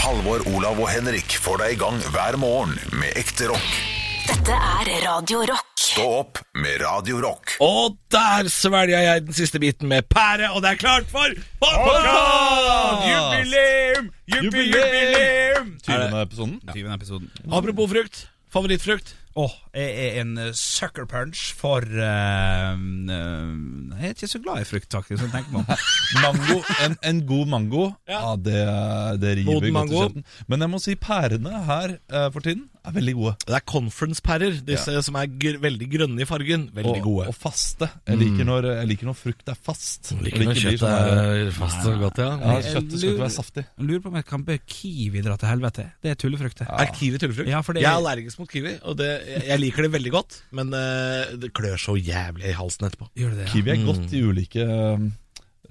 Halvor, Olav og Henrik får deg i gang hver morgen med ekte rock. Dette er Radio Rock. Stå opp med Radio Rock. Og der svelger jeg den siste biten med pære, og det er klart for podkast! Jubileum! Jubi, jubileum! episoden? Tyvende episoden. Apropos frukt. Favorittfrukt. Åh, jeg er en eh, sucker punch for eh, eh, Jeg er ikke så glad i frukt, faktisk. sånn tenker man. Mango, en, en god mango, ja. Ja. det, det river Moden godt i mango. kjeften. Men jeg må si pærene her eh, for tiden er veldig gode. Det er conference-pærer, disse som er gr veldig grønne i fargen. Veldig Og, gode. Mm. og faste. Jeg liker, når, jeg liker når frukt er fast. Når det ikke blir sånn her- eh, fast og godt, ja, kjøttet skal ikke være saftig. Lurer på om jeg kan be kiwi dra til helvete. Det er tullefrukt. det. Er kiwi tullefrukt? Ja, for det- Jeg er allergisk mot kiwi, og det, jeg, jeg liker det veldig godt, men eh, det klør så jævlig i halsen etterpå. Gjør det det? ja? Kiwi er godt i ulike eh,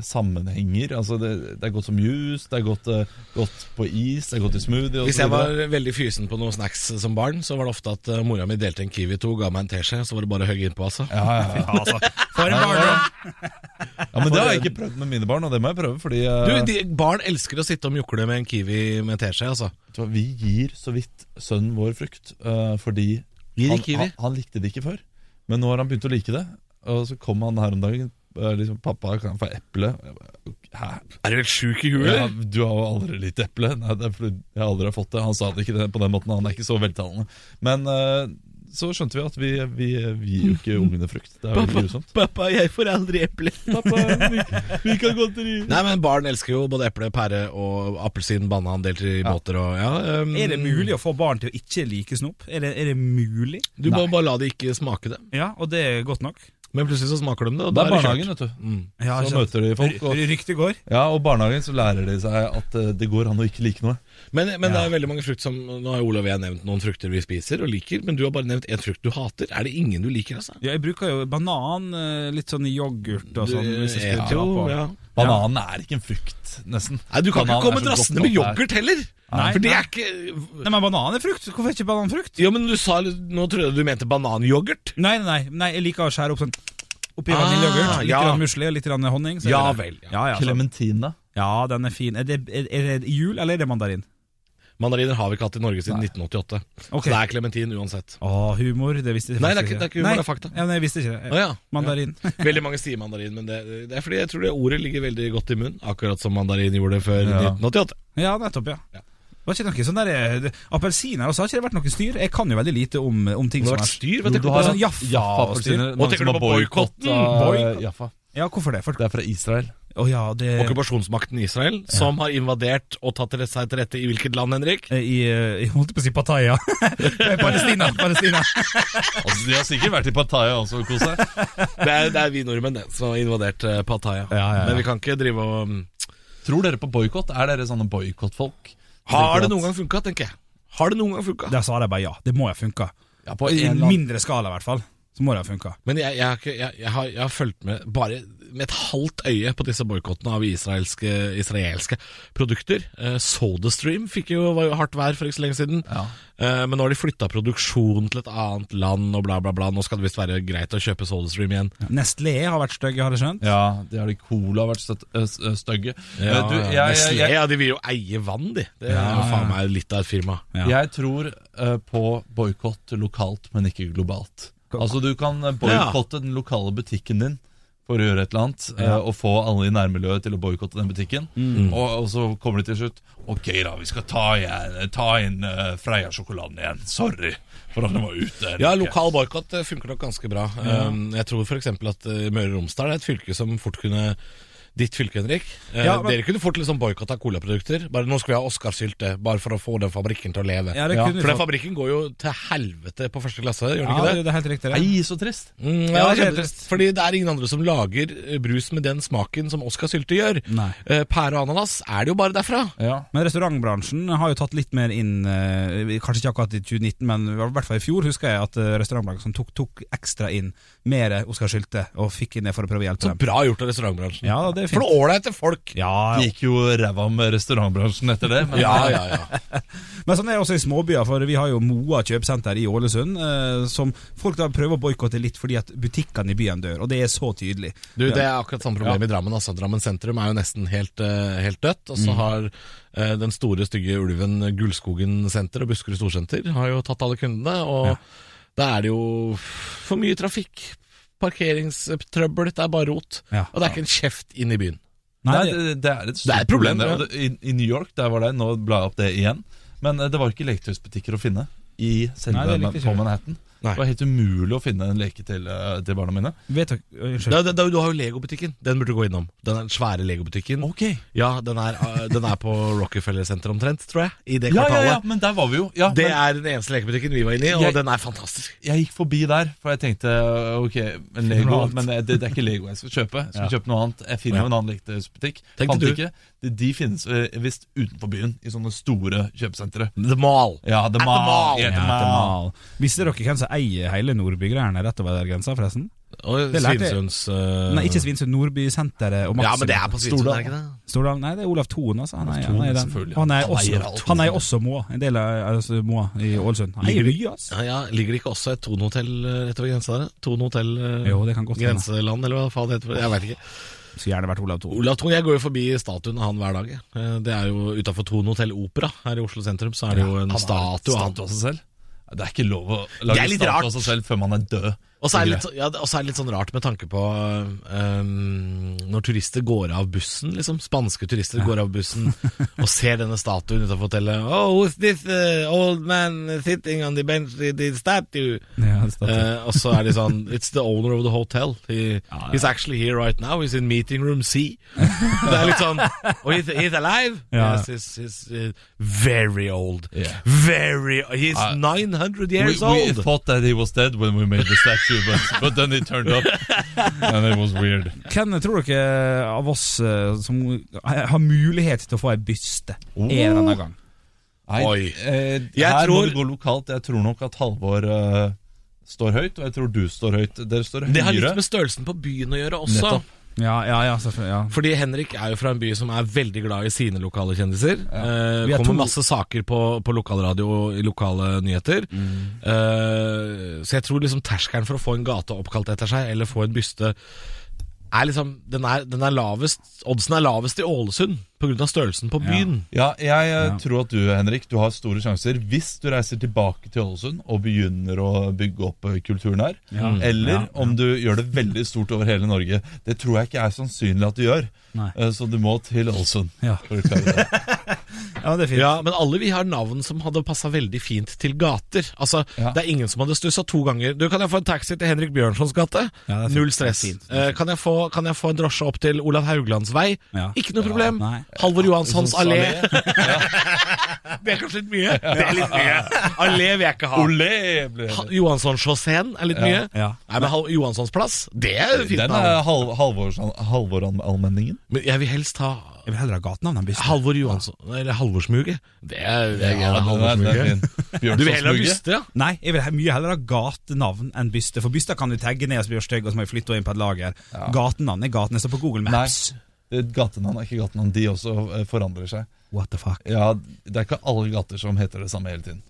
sammenhenger. Altså det, det er godt som juice, det er godt, eh, godt på is, det er godt i smoothie. og Hvis så jeg var videre. veldig fysen på noen snacks som barn, så var det ofte at eh, mora mi delte en kiwi to, ga meg en teskje, så var det bare å hogge innpå, altså. ja, ja, ja. For en barndom! ja, Men det har jeg ikke prøvd med mine barn, og det må jeg prøve. Fordi eh, Du, de, barn elsker å sitte og mjukle med en kiwi med teskje, altså. vet du hva, vi gir så vidt sønnen vår frukt, eh, fordi Gir han, han, han likte det ikke før, men nå har han begynt å like det. Og så kom han her om dagen. eh, Liksom, 'Pappa, kan jeg få eple?' Jeg bare, «Ok, Hæ? Er du helt sjuk i huet? Ja, du har jo aldri litt eple. Nei, det er fordi jeg aldri har fått det. Han sa det ikke på den måten. Han er ikke så veltalende. Men eh, så skjønte vi at vi, vi, vi gir jo ikke ungene frukt. Det er jo veldig grusomt. Pappa, jeg får aldri eple. Pappa, vi, vi kan gå til de- Nei, men barn elsker jo både eple, pære og appelsin, banan delt i båter og ja. ehm, Er det mulig å få barn til å ikke like snop? Er det, er det mulig? Du må bare la de ikke smake det. Ja, og det er godt nok. Men plutselig så smaker de det, og Det da er er det barnehagen, kjørt. Mm. vet du. Ja, Så ikke sant? møter de folk. Og, R- Ryktet går. ja, og barnehagen så lærer de seg at eh, det går an å ikke like noe. Men, men det er veldig mange frukt som Nå har Olav og jeg nevnt noen frukter vi spiser og liker, men du har bare nevnt én frukt du hater. Er det ingen du liker, altså? Ja, jeg bruker jo banan, eh, litt sånn i yoghurt og sånn. hvis jeg ja, skulle dra på. eh, ja. Bananen er ikke en frukt, nesten. Nei, du kan Bananen ikke komme er så drassende godt med nok det er. yoghurt heller! Nei, for det nei. er ikke Nei, men banan er frukt. Hvorfor er ikke banan frukt? Ja, men du sa Nå trodde jeg du mente bananyoghurt. Nei, nei, nei, nei, jeg liker å skjære opp sånn Oppi vaniljeyoghurt, Ah, litt ja. grann musli og litt grann honning. så er Ja det det. vel, ja. Ja, ja, så- Clementina. ja, den er fin. Er det, er, er det jul, eller er det mandarin? Mandariner har vi ikke hatt i Norge siden 1988. Ok. Så det er klementin uansett. Å, humor, det visste jeg Nei, det er faktisk ikke- det er ikke humor, det er fakta. Ja, nei, jeg visste ikke det. Å, ja. Mandarin. Veldig mange sier mandarin, men det, det er fordi jeg tror det ordet ligger veldig godt i munnen. Akkurat som mandarin gjorde før Ja. 1988. Ja, nettopp, ja. Ja. Var ikke noe sånn der, eh, Appelsiner også, har ikke det vært noe styr? Jeg kan jo veldig lite om, om ting Det som har er vært styr, Jo, vet du. du har sånn sånn Jaffa og styr. Jaffa-appelsiner. tenker du på boykotten? Jaffa. eh, Ja, hvorfor det? For, Det er fra Israel. Å ja, det Okkupasjonsmakten Israel, som har invadert og tatt til seg til rette i hvilket land, Henrik? eh, I, eh, jeg holdt på å si Pattaya. Palestina. Palestina. Altså, de har sikkert vært i Pattaya også og kost seg. Det er, det er vi nordmenn det, som har invadert eh, Pattaya. Ja, ja, ja. Men vi kan ikke drive og mm, Tror dere på boikott? Er dere sånne boikottfolk? Har det noen gang funka, tenker jeg. Har det noen gang funka? Der sa de bare ja. Det må jo funke. ja, på I en en eller annen- mindre skala, i hvert fall. Så må det ha funka. Men jeg, jeg, har ikke, jeg, jeg, har, jeg har fulgt med bare med et halvt øye på disse boikottene av israelske, israelske produkter. Eh, SodaStream fikk jo, var jo hardt vær for ikke så lenge siden. Ja. Eh, men nå har de flytta produksjonen til et annet land og bla, bla, bla. Nå skal det visst være greit å kjøpe SodaStream igjen. Nestlé har vært stygge, har jeg skjønt. Ja, det har de cola vært støtt, ø, s- ø, stygge. Eh, du, jeg, jeg, Nestlé, jeg, ja, de vil jo eie vann, de. Det er jo Ja. faen meg litt av et firma. Ja. jeg tror ø, på boikott lokalt, men ikke globalt. Altså, du kan boikotte den lokale butikken din for å gjøre et eller annet, ø, og få alle i nærmiljøet til å boikotte den butikken. Mm. Og, og så kommer de til slutt Ok, da, vi skal ta, igjen, eh, ta inn ø, Freia-sjokoladen igjen. Sorry for at den var ute. en Ja, uke.» lokal boikott eh, funker nok ganske bra. Um, Jeg tror f.eks. at uh, Møre og Romsdal er et fylke som fort kunne Ditt fylke, Henrik. Eh, Ja, men- Dere kunne fort liksom boikotta colaprodukter. Bare 'nå skal vi ha Oscarsylte', bare for å få den fabrikken til å leve. Ja, det Ja, kunne for den fått- fabrikken går jo til helvete på første klasse, gjør den ja, ikke det det? er helt riktig. Det. Nei, så trist. Mm, Ja, det er kjempe- trist. Fordi det er ingen andre som lager eh, brus med den smaken som Oscarsylte gjør. Nei. Eh, Pære og ananas er det jo bare derfra. Ja. Men restaurantbransjen har jo tatt litt mer inn eh, Kanskje ikke akkurat i 2019, men i hvert fall i fjor husker jeg at eh, restaurantbransjen tok, tok ekstra inn mer Oskar Sylte og fikk inn det for å prøve å hjelpe Så dem. bra gjort av restaurantbransjen. Ja, det det er For fint. det ålreite folk. Ja, Gikk jo ræva med restaurantbransjen etter det. Men Ja, ja, ja. Men sånn er det også i småbyer, for vi har jo Moa kjøpesenter i Ålesund, eh, som folk da prøver å boikotte litt fordi at butikkene i byen dør, og det er så tydelig. Du, Det er akkurat samme problem i Drammen. Altså. Drammen sentrum er jo nesten helt, eh, helt dødt. Mm. Og så har eh, den store, stygge ulven Gullskogen senter og Buskerud Storsenter har jo tatt alle kundene. Og da er det jo for mye trafikk. Parkeringstrøbbel, det er bare rot. Ja. Og det er ikke en kjeft inn i byen. Nei, det, det er Det er et stort et problem, problem. det, ja. og det, i, I New York, der var det, nå bla jeg opp det igjen. Men eh, det var ikke leketøysbutikker å finne i selve Nei, det er like på kjørt. Manhattan. Nei. Det var helt umulig å finne en leke til, eh, til barna mine. Vet dere, unnskyld. Ja, det- det- du har jo Lego-butikken. Den burde du gå innom. Den er den svære Lego-butikken. Ja, den er, eh, den er på Rockefeller senter omtrent, tror jeg. I det Ja, ja, kvartalet. ja, men der var vi jo. Ja, Det men er den eneste lekebutikken vi var inne i, og Jeg- den er fantastisk. jeg gikk forbi der, for jeg tenkte eh, ok, men Lego, noe annet. men eh, det, det er ikke Lego jeg skal kjøpe. Jeg skal kjøpe noe annet. Jeg finner jo en annen leketøysbutikk. Tenkte Fant du. ikke. De, de finnes eh, visst utenfor byen, i sånne store kjøpesentre. The Mall. Ja, The Mall. Mall. Ja, The Ja, Mall. mal. Visste dere hvem som eier hele Nordby-greiene rett over der grensa, forresten? Og Det lærte jeg. Svinsunds eh, Nei, ikke Svinsund, Nordby-senteret og Ja, Maxim. men det er på Svinesund, er det ikke det? Stordalen? Nei, det er Olav Thon, altså. Han er, Thon, han er, den. selvfølgelig. Og han er Han eier også, alt. han er også Moa, en del av altså, Moa i Ålesund. Han eier mye, altså. Ja, ja, Ligger det ikke også et Thon-hotell eh, rett over grensa der? Thon-hotell eh, Jo, det kan godt hende. Grenseland, eller hva faen det heter. Jeg vet ikke. Skulle gjerne vært Olav Thon. Olav Thon, jeg går jo forbi statuen av han hver dag. jeg. Eh, Det er jo utafor Thon hotell Opera her i Oslo sentrum, så er det jo en Han har statue av han. statue av seg selv. Det er ikke lov å Det lage er litt statue rart. av seg selv før man er død. Og så er, det litt så- ja, det- og så er det litt sånn rart med tanke på øhm, når turister går av bussen, liksom. Spanske turister går av bussen og ser denne statuen utenfor hotellet. Oh, who's this uh, old man sitting on the bench with the statue? Ja, det står- Eh, og så er de sånn It's the owner of the hotel. He, He's actually here right now. He's in meeting room C. det er litt sånn Oh, he's, he's alive? Ja. Yes, he's, he's uh, very old. Yeah. Very He's Ah. 900 We, years we old. thought that he was dead when we made the statue, but, but then he turned up, and it was weird. Hvem tror dere av oss eh, som har mulighet til å få ei byste en eller Oh. annen gang? Nei, Oi. eh, Jeg her må tror- det gå lokalt. Jeg tror nok at Halvor eh, står høyt, og jeg tror du står høyt. Dere står høyere. Det har litt med størrelsen på byen å gjøre også. Nettopp. Ja, ja, ja, selvfølgelig. Ja. Fordi Henrik er jo fra en by som er veldig glad i sine lokale kjendiser. Vi Eh, er kommer to- masse saker på, på lokalradio og i lokale nyheter. Mm. Eh, så jeg tror liksom terskelen for å få en gate oppkalt etter seg, eller få en byste er liksom, den er, den er lavest, Oddsen er lavest i Ålesund pga. størrelsen på byen. Ja, jeg eh, tror at du, Henrik, du har store sjanser hvis du reiser tilbake til Ålesund og begynner å bygge opp eh, kulturen her. Eller Ja, ja. om du gjør det veldig stort over hele Norge. Det tror jeg ikke er sannsynlig at du gjør. Nei. Eh, Så du må til Ålesund. Ja. for å klare det. ja, det er fint. Ja, Men alle vi har navn som hadde passa veldig fint til gater. Altså, Ja. Det er ingen som hadde stussa to ganger. Du, Kan jeg få en taxi til Henrik Bjørnsons gate? Ja, det er fint. Null stress. Det er fint. Eh, kan, jeg få, kan jeg få en drosje opp til Olav Hauglands vei? Ja. Ikke noe problem. nei. Halvor Johanssons Sånn allé. allé. det er kanskje litt mye? Det er litt mye. Allé vil jeg ikke ha. Olé! ble det. Ha- Johansson-sjåseen er litt mye. Ja. Nei, men Hal Johanssons plass, det er fint Den navn. er Hal Halvor-allmenningen. Men jeg vil helst ha Jeg vil heller ha gatenavn enn byste. Halvor Johansson Eller Halvorsmuget. Det er, det er, Ja, den er- den er Halvorsmuget. fin. Du vil heller ha Bjørnsonsmuget. byste, ja? Nei, jeg vil he- mye heller ha gatenavn enn byste. For byster kan du tagge ned og så blir du stygg, og så må jeg flytte henne inn på et lager. Gatenavn er gatenavn. Så på Google Maps Nei, det er gatenavn er ikke gatenavn. De også eh, forandrer seg. What the fuck? Ja, Det er ikke alle gater som heter det samme hele tiden.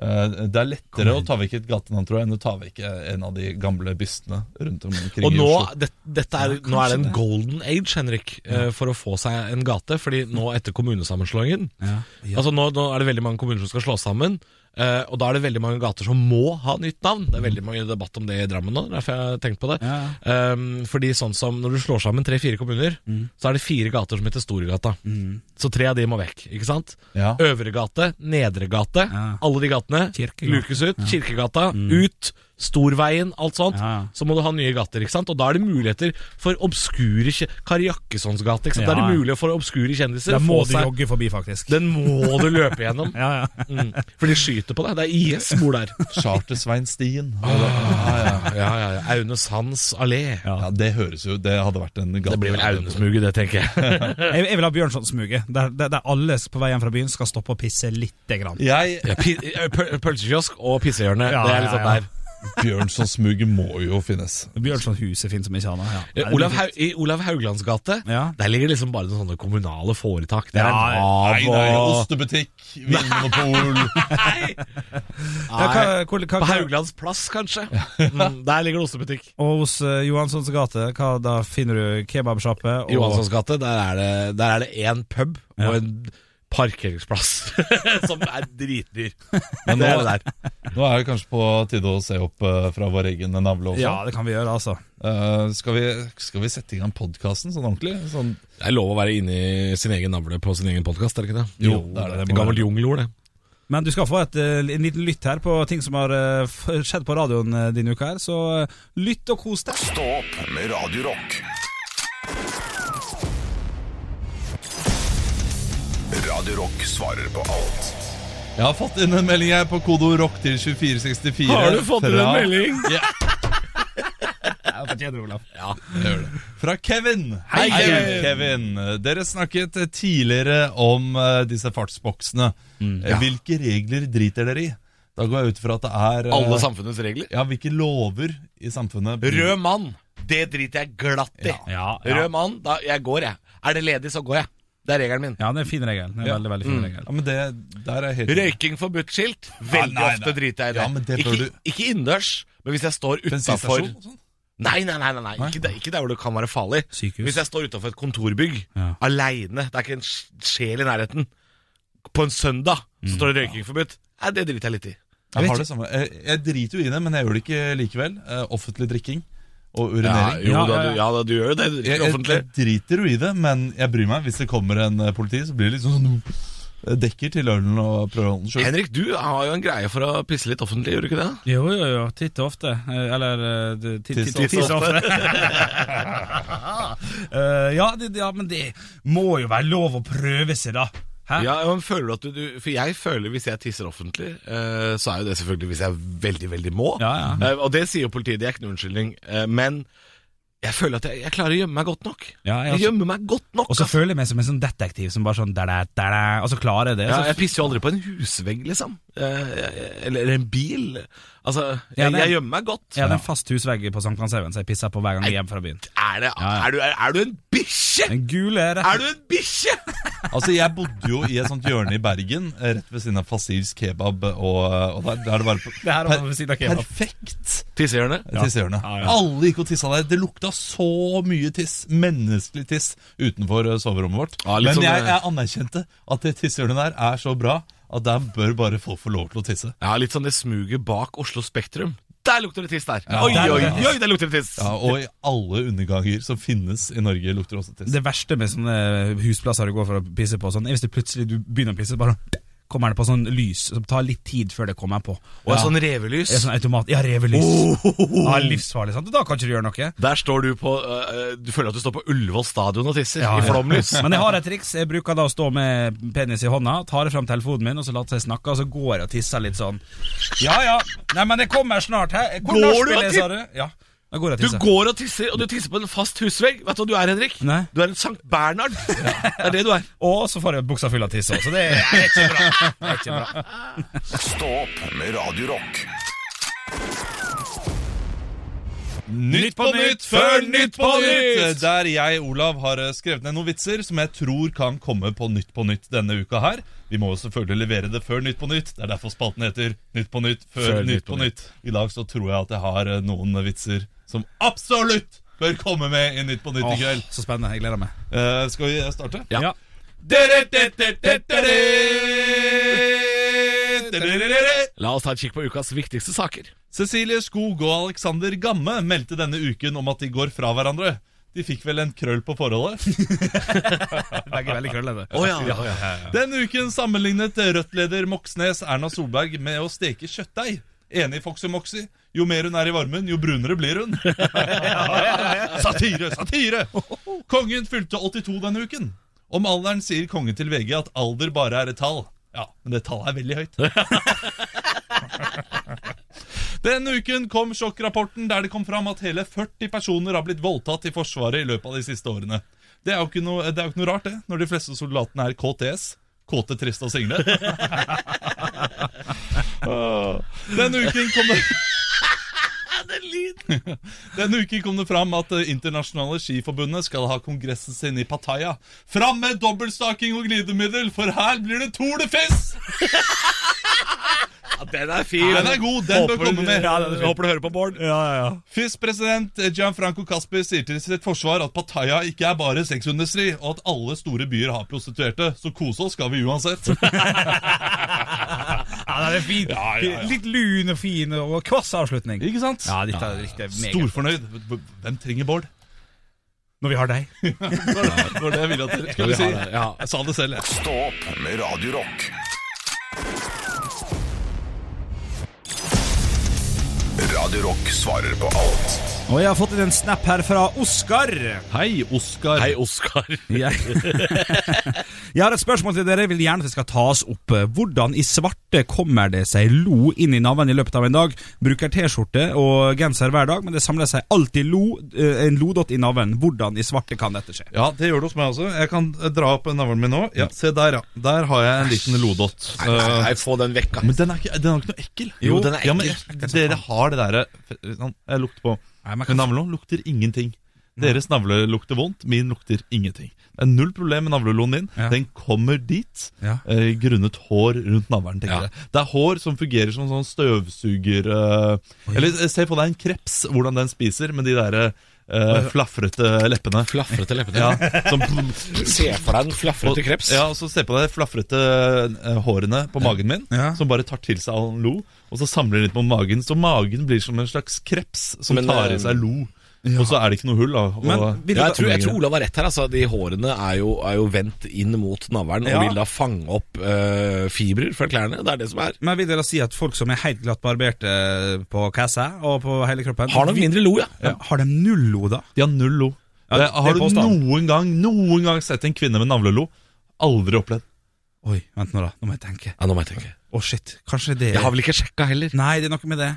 Eh, Det er lettere å ta vekk et gatenavn tror jeg, enn å ta vekk eh, en av de gamle bystene rundt omkring Og nå, i Oslo. det, dette er, nå er det en golden age, Henrik, eh, for å få seg en gate. Fordi nå etter kommunesammenslåingen Altså nå, nå er det veldig mange kommuner som skal slås sammen. eh, og da er det veldig mange gater som må ha nytt navn. Det er veldig mye debatt om det i Drammen nå. Derfor jeg har tenkt på det. Um, fordi sånn som når du slår sammen tre-fire kommuner, så er det fire gater som heter Storgata. Mm. Så tre av de må vekk, ikke sant? Ja. Øvre gate, Nedre gate, Ja. alle de gatene Kirkegata. lukes ut. Kirkegata, ut. Storveien, alt sånt. Ja, ja. Så må du ha nye gater, ikke sant? Og da er det muligheter for obskure kje- Kari Jakkessons gate, ikke sant? Da Ja, er det ja. mulig for obskure kjendiser Den å må få du seg- jogge forbi, faktisk. Den må du løpe gjennom. Ja, ja. Mm. For de skyter på deg. Det er IS-mor der. Charter-Svein Stien. Ah. Ja, ja. Ja, ja, ja. Aune Sands allé. ja, det høres jo Det hadde vært en gate. Det blir vel Aunesmuget, det, tenker jeg. Jeg, jeg vil ha Bjørnsonsmuget, der, der, der alle på vei hjem fra byen skal stoppe og pisse lite grann. Jeg Ja, pi- eh, pøl- Pølsekiosk og pissehjørne. Ja, det er litt ja, sånn ja. der. Bjørnsonsmuget må jo finnes. Bjørnsonhuset finnes som ikke annet. Ja. Eh, Olav Hau- I Olav Hauglands gate Ja. Der ligger liksom bare noen sånne kommunale foretak. Det er Ja, Nav Nei, nei, og ostebutikk, vinmonopol Ja, hva- hvor- hva- På Hauglands plass, kanskje. Mm, der ligger det ostebutikk. Og hos eh, Johanssons gate, hva da finner du kebabsjappe? og- I Johanssons gate der er det- der er det én pub Ja. og en parkeringsplass som er dritdyr. Men Det er det nå, der. nå er det kanskje på tide å se opp eh, fra vår egen navle også. Ja, det kan vi gjøre, altså. Eh, skal, vi, skal vi sette i gang podkasten sånn ordentlig? Sånn, Det er lov å være inni sin egen navle på sin egen podkast, er det ikke det? Jo, det er det. er Gammelt jungelord, det. Men du skal få et, eh, en liten lytt her på ting som har eh, f- skjedd på radioen eh, denne uka her, så eh, lytt og kos deg. Stå opp med Radio Rock. Radio Rock svarer på alt. jeg har fått inn en melding her på kodo rock til 2464. fra- melding? Ja, jeg gjør det. Fra Kevin. Hei, Kevin. Kevin. Dere snakket tidligere om eh, disse fartsboksene. Mm. Eh, Hvilke regler driter dere i? Da går jeg ut fra at det er eh, Alle samfunnets regler. Ja, hvilke lover i samfunnet Rød mann, det driter jeg glatt i. Ja, Rød mann, da, jeg går, jeg. Er det ledig, så går jeg. Det er regelen min. Ja, det er en fin regel. Det er en Ja. veldig, veldig fin regel. Ja, men det Der er jeg helt Røyking forbudt-skilt, veldig nei, nei. ofte driter jeg i det. Ja, men det bør ikke, du- ikke innendørs, men hvis jeg står utafor Bensinstasjon og sånn? Nei, nei, nei, nei, nei. Ikke, der, ikke der hvor det kan være farlig. Sykehus. Hvis jeg står utafor et kontorbygg Ja. aleine, det er ikke en sj- sjel i nærheten, på en søndag, Mm. så står det røyking forbudt. Nei, det driter jeg litt i. Jeg, har det samme. Jeg, jeg driter jo i det, men jeg gjør det ikke likevel. Eh, offentlig drikking og urinering. jo, da, du- gjør jo det. Jeg, jeg, jeg driter jo i det, men jeg bryr meg. Hvis det kommer en eh, politi, så blir det liksom sånn eh, Dekker til ølen og prøver å holde den skjult. Henrik, du har jo en greie for å pisse litt offentlig, gjør du ikke det? Jo, jo, jo. Titt og ofte. Eh, Eller eh, det- titt Titt titt- og titt og ofte. Eh, ja, det, ja, men det må jo være lov å prøve seg, da. Hæ? Ja, men føler du at du, du For jeg føler hvis jeg tisser offentlig, eh, så er jo det selvfølgelig hvis jeg veldig, veldig må. Ja, Eh, og det sier jo politiet, det er ikke noen unnskyldning. eh, men jeg føler at jeg, jeg klarer å gjemme meg godt nok. Ja, jeg jeg også- gjemmer meg godt nok. Og så altså. føler jeg meg som en sånn detektiv som bare sånn da, da, da, da, Og så klarer jeg det. ja, så- jeg pisser jo aldri på en husvegg, liksom. Eh, eller, eller en bil. Altså, jeg, Ja, det er- jeg gjemmer meg godt. Jeg hadde en fast husvegg på Sankthanshaugen, så jeg pisser på hver gang jeg er hjemme fra byen. Er, det, er, du, er, er du en bikkje?! Den gule er Er du en bikkje?! Altså, jeg bodde jo i et sånt hjørne i Bergen, eh, rett ved siden av Fasils kebab, eh, og, og der, der er det bare på- Det her var ved siden av kebab. Perfekt Tissehjørnet. tissehjørne. Alle gikk og tissa der. Det lukta så mye tiss, menneskelig tiss, utenfor eh, soverommet vårt. Ja, litt Men sånn, jeg, eh, jeg anerkjente at det tissehjørnet der er så bra at der bør bare folk få lov til å tisse. Ja, litt sånn det smuget bak Oslo Spektrum. Der lukter det tiss der! Ja, oi, oi, der lukter det tiss. oi, der lukter det tiss! Ja, og i alle underganger som finnes i Norge, lukter det også tiss. Det verste med sånne husplasser du går for å pisse på, sånn, er hvis det plutselig du begynner å pisse, bare kommer det på sånn lys som tar litt tid før det kommer på. Og ja. sånn revelys. Det er sånn Oh! automat Ja, revelys. Ja, livsfarlig, sant? Og Da kan ikke du gjøre noe. Der står du på øh, Du føler at du står på Ullevål stadion og tisser i flomlys. Men jeg har et triks. Jeg bruker da å stå med penis i hånda, tar fram telefonen min, og så later jeg snakke, og så går jeg og tisser litt sånn. Ja ja. Nei, men det kommer snart, hæ? Hvor Går nachspiel du og er, ti- sa du? Ja. Da går jeg og Du tisser. går og tisser, og du tisser på en fast husvegg. Vet du hva du er, Henrik? Nei. Du er en Sankt Bernhard. Det er det du er. Og så får jeg buksa full av tiss òg, så det er ikke bra. Det er ikke bra. Stå opp med Radio Rock. Nytt på nytt før Nytt på nytt! Der jeg, Olav, har eh, skrevet ned noen vitser som jeg tror kan komme på Nytt på nytt denne uka her. Vi må jo selvfølgelig levere det før Nytt på nytt. Det er derfor spalten heter Nytt på nytt før, nytt, på nytt. I dag så tror jeg at jeg har eh, noen vitser som absolutt bør komme med i Nytt på nytt i Åh, kveld. så spennende. Jeg gleder meg. Eh, skal vi starte? Ja. La oss ta en kikk på ukas viktigste saker. Cecilie Skog og Alexander Gamme meldte denne uken om at de går fra hverandre. De fikk vel en krøll på forholdet. Begge er veldig krøllete. Denne uken sammenlignet Rødt-leder Moxnes Erna Solberg med å steke kjøttdeig. Enig Foxy Moxy. Jo mer hun er i varmen, jo brunere blir hun. satire, satire! Kongen fylte 82 denne uken. Om alderen sier kongen til VG at alder bare er et tall. Ja, men det tallet er veldig høyt. Denne uken kom sjokkrapporten der det kom fram at hele 40 personer har blitt voldtatt i Forsvaret i løpet av de siste årene. Det er jo ikke noe, det er jo ikke noe rart, det, når de fleste soldatene er KTS. Kåte, triste og single. Denne uken kom det lyd! Denne uken kom det fram at Det internasjonale skiforbundet skal ha kongressen sin i Pattaya. Fram med dobbeltstaking og glidemiddel, for her blir det Tour de Fest! Ja, den er fin! Den er god, den bør komme med. Ja, den er fin. Håper du hører på, Bård. Ja, ja, ja. FIS-president Gianfranco Casper sier til sitt forsvar at Pattaya ikke er bare sexindustri, og at alle store byer har prostituerte, så kose oss skal vi uansett. Ja, den er fin. Ja, ja, ja. Litt lun og fin og kvass avslutning. Ikke sant? Ja, dette er riktig meget. Storfornøyd. Hvem trenger Bård? Når vi har deg. Det var det jeg ville at dere skulle si. Jeg sa det selv, jeg. Stå opp med Radio Rock. Radio Rock svarer på alt. Og jeg har fått inn en snap her fra Oskar. Hei, Oskar. Hei, Oskar. Eh, Jeg Jeg har et spørsmål til dere. Jeg vil gjerne at det skal tas opp. Hvordan i svarte kommer det seg lo inn i navlen i løpet av en dag? Bruker T-skjorte og genser hver dag, men det samler seg alltid lo, eh, en lodott i navlen. Hvordan i svarte kan dette skje? Ja, det gjør det hos meg også. Jeg kan eh, dra opp navlen min nå. Ja, se der, ja. Der har jeg en liten lodott. Eh, Nei, få den vekk, da. men den er, ikke, den er ikke noe ekkel. Jo, den er Ja, men jeg, dere har det derre sånn, Jeg lukter på Nei, man kan- Men navlelo lukter ingenting. Deres navle lukter vondt, min lukter ingenting. Det er null problem med navleloen din. Ja. Den kommer dit Ja. eh, grunnet hår rundt navlen. tenker Ja. jeg Det er hår som fungerer som sånn støvsuger eh, Eller eh, se på deg en kreps, hvordan den spiser med de der eh, flafrete leppene. Flafrete lepper. Ja, som, Se for deg den flafrete og- kreps. Ja, og så Se på de flafrete eh, hårene på magen min, Ja. som bare tar til seg all lo. Og så samler de litt på magen, så magen blir som en slags kreps som Men, tar eh, i seg lo. Og så er det ikke noe hull. Da, og, Men vil Ja, du jeg, tror, jeg tror Olav har rett her. Altså. De hårene er jo, er jo vendt inn mot navlen Ja. og vil da fange opp eh, fibrer fra klærne. Det er det som er. men vil dere si at folk som er helt glattbarberte på kassa og på hele kroppen Har nok mindre lo, ja. Ja, Har de null lo, da? De har null lo. Ja, Eh, det er har du påstand. noen gang Noen gang sett en kvinne med navlelo? Aldri opplevd. Oi, vent nå, da. Nå må jeg tenke. ja nå må jeg tenke. Å, shit. Kanskje det Jeg har vel ikke sjekka heller. Nei, det er noe med det.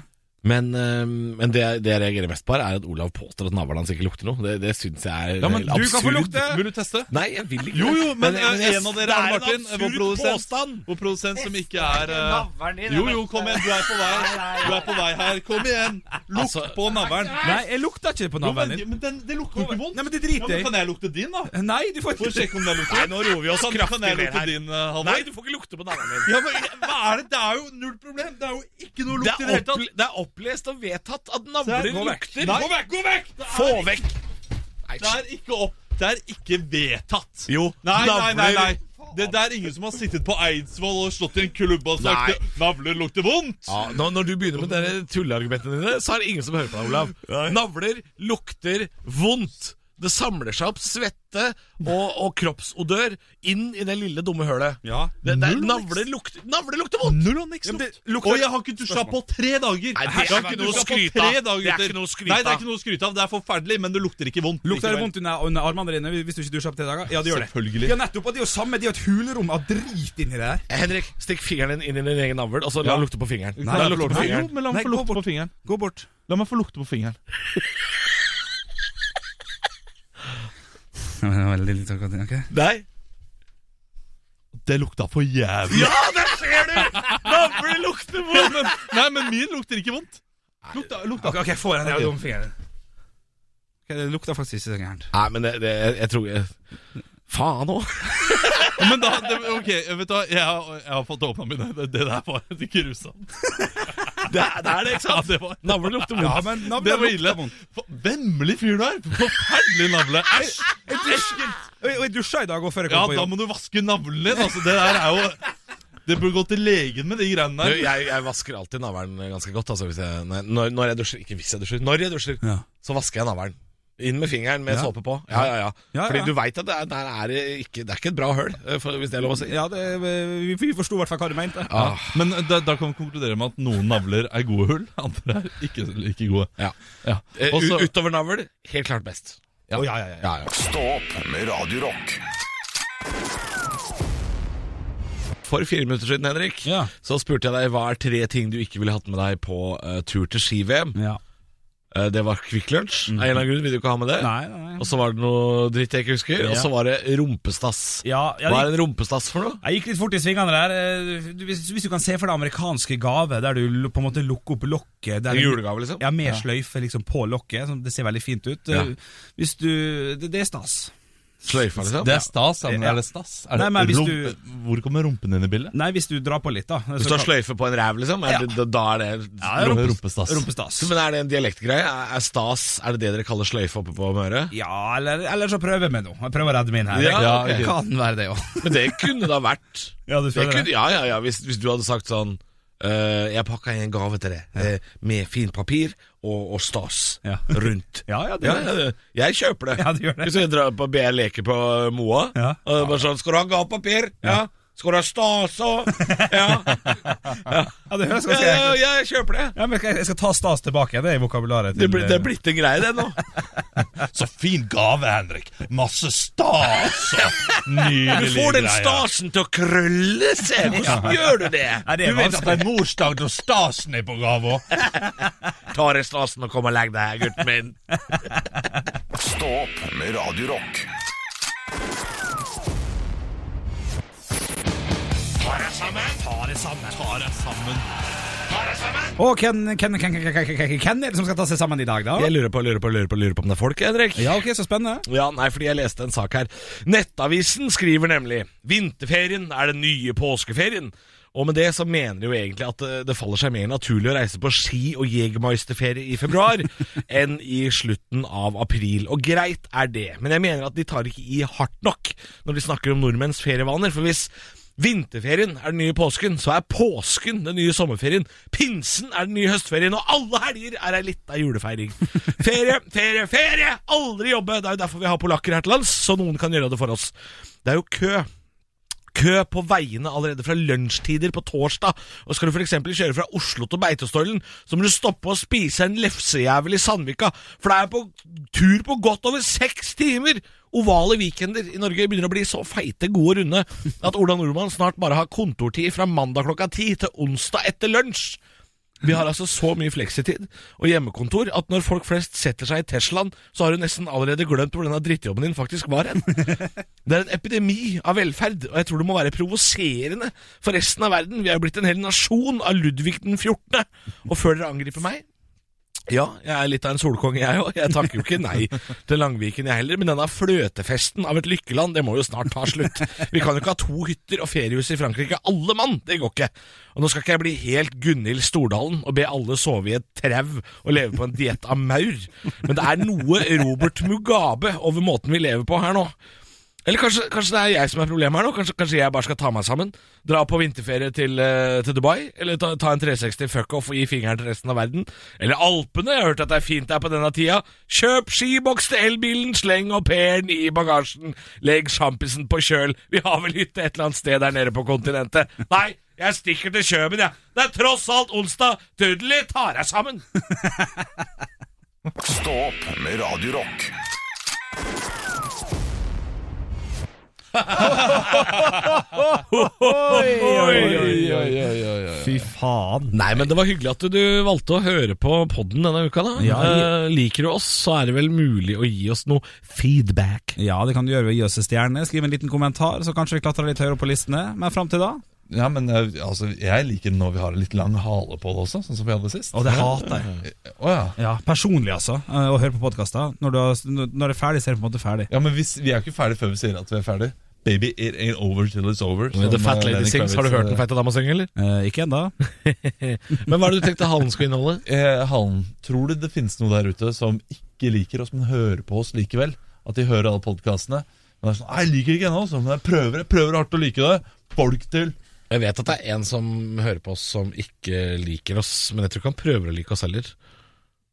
Men, eh, men det, det jeg reagerer mest på, her er at Olav påstår at navlen hans ikke lukter noe. Det, det syns jeg er Ja, men helt du kan få absurd. lukte! Vil du teste? Nei, jeg vil ikke Jo, jo, men, eh, jeg- en av dere, det Arne er Martin, en vår absurd produsent. påstand! Vår produsent som ikke er eh, Jo, jo, kom igjen, du er på vei. Du er på vei her. Kom igjen! Lukt Altså- på navlen. Nei, jeg lukta ikke på Jo, men, navlen din. men den, det lukter jo ikke vondt. Nei, men det driter Ja, jeg i. Kan jeg lukte din, da? Nei, du får For å ikke sjekke om det lukter. Nei, nå roer vi oss kraftig Kan jeg ned lukte her. din, eh, Halvor? Nei, du får ikke lukte på navlen min. Ja, men, hva er det? Det er jo null problem. Det er jo ikke noe Det lukt i er, det hele opple tatt. det er opplest og vedtatt at Der, navler gå vekk. lukter. Nei. Gå vekk, gå vekk! Det er Få vekk! Det er ikke opp Det er ikke vedtatt Jo, Nei, nei, nei, nei navler- det, det er ingen som har sittet på Eidsvoll og slått i en klubb og sagt Nei. Navler lukter vondt Ja, når, når du begynner med dere tulleargumentene dine, så er det ingen som hører på deg, Olav. Navler lukter vondt. Det samler seg opp svette og, og kroppsodør inn i det lille dumme hølet. Ja. Det, det, er- Null niks. navler, lukter, navler lukter vondt! Null og niks Ja, men det lukt lukter- Og jeg har ikke dusja på tre Nei, det dager Jeg har er ikke noe å dusja på skryte tre av. dager Det er etter. ikke noe å skryte Nei, det er av. ikke noe å skryte av Det er forferdelig, men det lukter ikke vondt Lukter det likevel. vondt under, under armene dine hvis du ikke dusjer opp tre dager? Ja, det gjør det. Selvfølgelig. Ja, nettopp. Og det er jo samme, det er jo et hulrom av drit inni det der. Henrik, stikk fingeren din inn i din egen navl, og så la Ja. den lukte på fingeren. Kan la den jeg lukte på få lukte? fingeren. Jo, men la Nei, meg få gå lukte bort. på fingeren Gå bort. La meg få lukte på fingeren Veldig litt akkurat, ok. Nei. Det lukta for jævlig Ja, der ser du! Navler lukter vondt! men, Nei, men min lukter ikke vondt Lukta, lukta Ok, ok, jeg får den der dumme fingeren. Ok, det lukter faktisk ikke så gærent. Nei, men det, det jeg, jeg tror jeg... Faen òg. Men da, det, ok, vet du hva, jeg, har- jeg har fått åpna mine. Det, det der var helt grusomt. Det, er- det er det, ikke Ja, sant? det var, Navler lukter vondt. Ja, men navnet det var lukter ille. vondt. Fa- Vemmelig fyr du er. Forferdelig navle. Æsj! Ekkelt. Og jeg- og jeg dusja i dag og før jeg kom Ja, på da jobb. må du vaske navlen din. Altså, det der er jo Det burde gå til legen med de greiene Du, der. jeg, jeg vasker alltid navlen ganske godt. Altså, hvis jeg, nei, når, når jeg dusjer, ikke hvis jeg dusjer, når jeg dusjer, Ja. så vasker jeg navlen. Inn med fingeren med Ja. såpe på. Ja, ja, ja. Ja, Fordi ja. du veit at det er, der er det ikke, det er ikke et bra høl, eh, for, hvis det er lov å si. Ja, det, vi, vi forsto i hvert fall hva du mente. Ah, Men da, da kan vi konkludere med at noen navler er gode hull, andre er ikke like gode. ja. Ja. Eh, Og så- u- Utover navl, helt klart best. Å, ja, ja, ja. Ja, ja. Stå opp med Radio Rock. For fire minutter siden, Henrik, Ja. så spurte jeg deg hva er tre ting du ikke ville hatt med deg på eh, tur til ski-VM. Ja. Eh, Det var Kvikk Lunsj. Av en eller annen grunn ville du ikke ha med det. Nei, nei, nei. Og så var det noe dritt jeg ikke husker. Og så var det rumpestass. Ja, ja, Hva er en rumpestass for noe? Jeg gikk litt fort i svingene der. Eh, du- Hvis, hvis du kan se for deg amerikanske gave, der du l- på en måte lukker opp lokket der En julegave, liksom? Ja, med sløyfe liksom på lokket. Sånn, det ser veldig fint ut. Eh, Hvis du Det, det er stas. Sløyfa, liksom? Det er stas, ja, men Ja. er det stas? Er det Nei, men hvis rump- du- Hvor kommer rumpen inn i bildet? Nei, hvis du drar på litt, da. Hvis du har sløyfe på en ræv, liksom, er det, da- da er det Rumpe- rumpestass. rumpestas. Rumpestas. Men er det en dialektgreie? Er, er stas Er det det dere kaller sløyfe oppe på Møre? Ja, eller, eller så prøver vi med noe. Jeg prøver å redde min her. Ja, Ja, Det ok. kan være det òg. Men det kunne da vært Ja, du det føler kunne, det? Ja, ja, ja hvis, hvis du hadde sagt sånn eh, Jeg pakka en gave til deg eh, med fint papir og, og stas Ja. rundt. Ja, ja, det Ja, gjør det. ja, det- jeg kjøper det. Ja, du gjør det. Hvis jeg drar på BR Leker på eh, Moa Ja. og det er bare sånn, Skal du ha gavepapir? Ja. Skal du ha stas òg? Ja. Ja, det Ja, høres ganske ja, enkelt ut. ja, jeg kjøper det. Ja, men skal jeg- jeg skal ta stas tilbake. Det er vokabularet. til- Det, blir- det er blitt en greie, det nå. Så fin gave, Henrik. Masse stas. og Du Nydelig får den greie. stasen til å krølle seg. Hvordan gjør du det? Nei, det er Du vet at vanskelig. det er morsdag når stasen er på gava. Ta deg stasen og kom og legg deg, gutten min. Stå opp med Radio Rock. Og hvem, hvem, hvem, hvem, hvem, hvem, hvem er det som skal ta seg sammen i dag, da? Jeg lurer på, lurer på, lurer på, lurer på om det er folk, Henrik. Ja, ok, så spennende. Ja, nei, fordi jeg leste en sak her. Nettavisen skriver nemlig Vinterferien er den nye påskeferien. Og med det så mener de jo egentlig at eh, det faller seg mer naturlig å reise på ski- og jegermeisterferie i februar enn i slutten av april. Og greit er det, men jeg mener at de tar ikke i hardt nok når de snakker om nordmenns ferievaner. For hvis vinterferien er den nye påsken, så er påsken den nye sommerferien, pinsen er den nye høstferien, og alle helger er ei lita julefeiring. Ferie, ferie, ferie! Aldri jobbe! Det er jo derfor vi har polakker her til lands, så noen kan gjøre det for oss. Det er jo kø. Kø på veiene allerede fra lunsjtider på torsdag. Og skal du f.eks. kjøre fra Oslo til Beitostølen, så må du stoppe og spise en lefsejævel i Sandvika, for det er på tur på godt over seks timer! Ovale weekender i Norge begynner å bli så feite, gode og runde at Ola Nordmann snart bare har kontortid fra mandag klokka ti til onsdag etter lunsj. Vi har altså så mye fleksitid og hjemmekontor at når folk flest setter seg i Teslaen, så har du nesten allerede glemt hvor denne drittjobben din faktisk var hen. Det er en epidemi av velferd, og jeg tror det må være provoserende for resten av verden. Vi er jo blitt en hel nasjon av Ludvig den 14. Og før dere angriper meg ja, jeg er litt av en solkonge, jeg òg. Jeg takker jo ikke nei til Langviken, jeg heller. Men denne fløtefesten av et lykkeland, det må jo snart ta slutt. Vi kan jo ikke ha to hytter og feriehus i Frankrike, alle mann! Det går ikke. Og nå skal ikke jeg bli helt Gunhild Stordalen og be alle sove i et trau og leve på en diett av maur. Men det er noe Robert Mugabe over måten vi lever på her nå. Eller kanskje, kanskje det er jeg som er problemet her nå? Kanskje, kanskje jeg bare skal ta meg sammen? Dra på vinterferie til, eh, til Dubai? Eller ta, ta en 360 fuck-off og gi fingeren til resten av verden? Eller Alpene? Jeg har hørt at det er fint der på denne tida. Kjøp skiboks til elbilen, sleng au pairen i bagasjen, legg sjampisen på kjøl. Vi har vel hytte et eller annet sted der nede på kontinentet. Nei, jeg stikker til Kjøben, jeg. Det er tross alt onsdag. Tudeli tar deg sammen. Stå opp med Radio Rock. Fy faen. Nei, men det var hyggelig at du valgte å høre på podden denne uka, da. Ja, Eh, liker du oss, så er det vel mulig å gi oss noe feedback. Ja, det kan du gjøre ved å gi oss en stjerne. Skriv en liten kommentar, så kanskje vi klatrer litt høyere på listene. Men fram til da Ja, men eh, altså, jeg liker det når vi har en litt lang hale på det også, sånn som vi hadde sist. Og det hater jeg. Å, ja. Ja, personlig, altså. eh, Å høre på podkaster. Når, du har- når det er ferdig, så er det på en måte ferdig. ja, men hvis, vi er jo ikke ferdig før vi sier at vi er ferdig. Baby, it ain't over till it's over. som, The Fat eh, Lady Lenny Sings, Kravitz, har du hørt den eh, feite dama synge, eller? Eh, ikke ennå. Men hva er det du tenkte halen skulle inneholde? Eh, Hallen, tror du det finnes noe der ute som ikke liker oss, men hører på oss likevel? At de hører alle podkastene? Men det er sånn, «Nei, jeg liker ikke ennå, så, men jeg prøver, jeg prøver hardt å like det. Folk til. Jeg vet at det er en som hører på oss som ikke liker oss, men jeg tror ikke han prøver å like oss heller.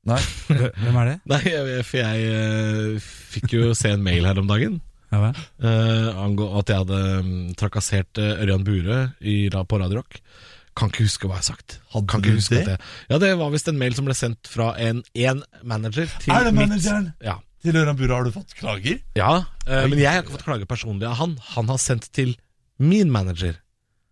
Nei, Hvem er det? Nei, jeg, for jeg eh, fikk jo se en mail her om dagen. Ja, vel. Eh, angå at jeg hadde mm, trakassert eh, Ørjan Bure i, ra- på Radio Rock. Kan ikke huske hva jeg har sagt. Hadde kan du ikke huske det? At jeg, ja, det var visst en mail som ble sendt fra en én manager til Er det mitt- manageren? Ja. til Øran Bura har du fått klager? ja eh, men jeg har ikke fått klage personlig av han. Han har sendt til min manager,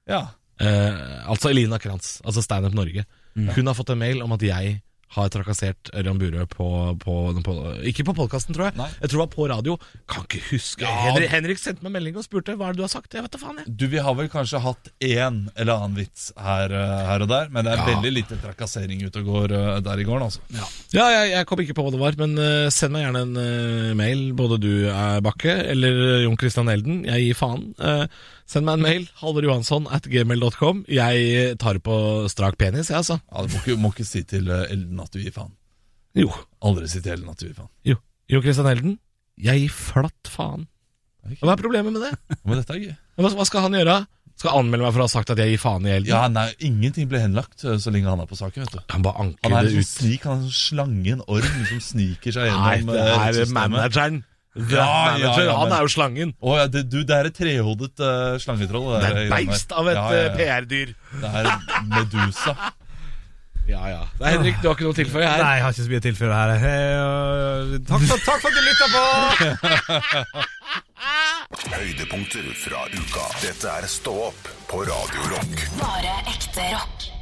Ja. Mm. eh, altså Elina Krantz, altså Standup Norge. Hun har fått en mail om at jeg har trakassert Ørjan Burøe på, på, på Ikke på podkasten, tror jeg. Nei. Jeg tror det var på radio. Kan ikke huske. Ja. Henrik, Henrik sendte meg melding og spurte hva er det du har sagt. Jeg vet da faen, jeg. Du, Vi har vel kanskje hatt én eller annen vits her, eh, her og der, men det er Ja. veldig lite trakassering ute og går eh, der i gården. altså Ja, jeg, jeg kom ikke på hva det var, men eh, send meg gjerne en eh, mail, både du, eh, Bakke, eller Jon Christian Elden. Jeg gir faen. Eh, send meg en mail, halvorjohansson at gmail.com. Jeg tar på strak penis, jeg, altså. ja, Du må ikke, må ikke si til eh, Elden at du gir faen. Jo. Aldri si til Elden at du gir faen. Jo, Jon Christian Elden. Jeg gir flatt faen. Ok. Hva er problemet med det? Men dette er gøy. Hva, hva skal han gjøre? Skal han anmelde meg for å ha sagt at jeg gir faen i Elden? Ja, nei, Ingenting blir henlagt eh, så lenge han er på saken. vet du Han bare anker Han er det en sånn ut. snik, han er en sånn slangen orm som sniker seg Nei, gjennom det eh, er rettssystemet. manageren. Det er Ja, ja, ja, manageren. men- Han er jo slangen. Å ja, det, du, det er et trehodet eh, slangetroll. Det der er i et landet. beist av et eh, Ja, eh, ja, ja. PR-dyr. Det er Medusa. Ja, ja. Nei, Henrik, du har ikke noe å tilføye her? Nei, jeg har ikke så mye å tilføre her. Hei, og- Takk for, takk for at du lytta på! Høydepunkter fra uka. Dette er Stå opp på Radio Rock. Bare ekte rock.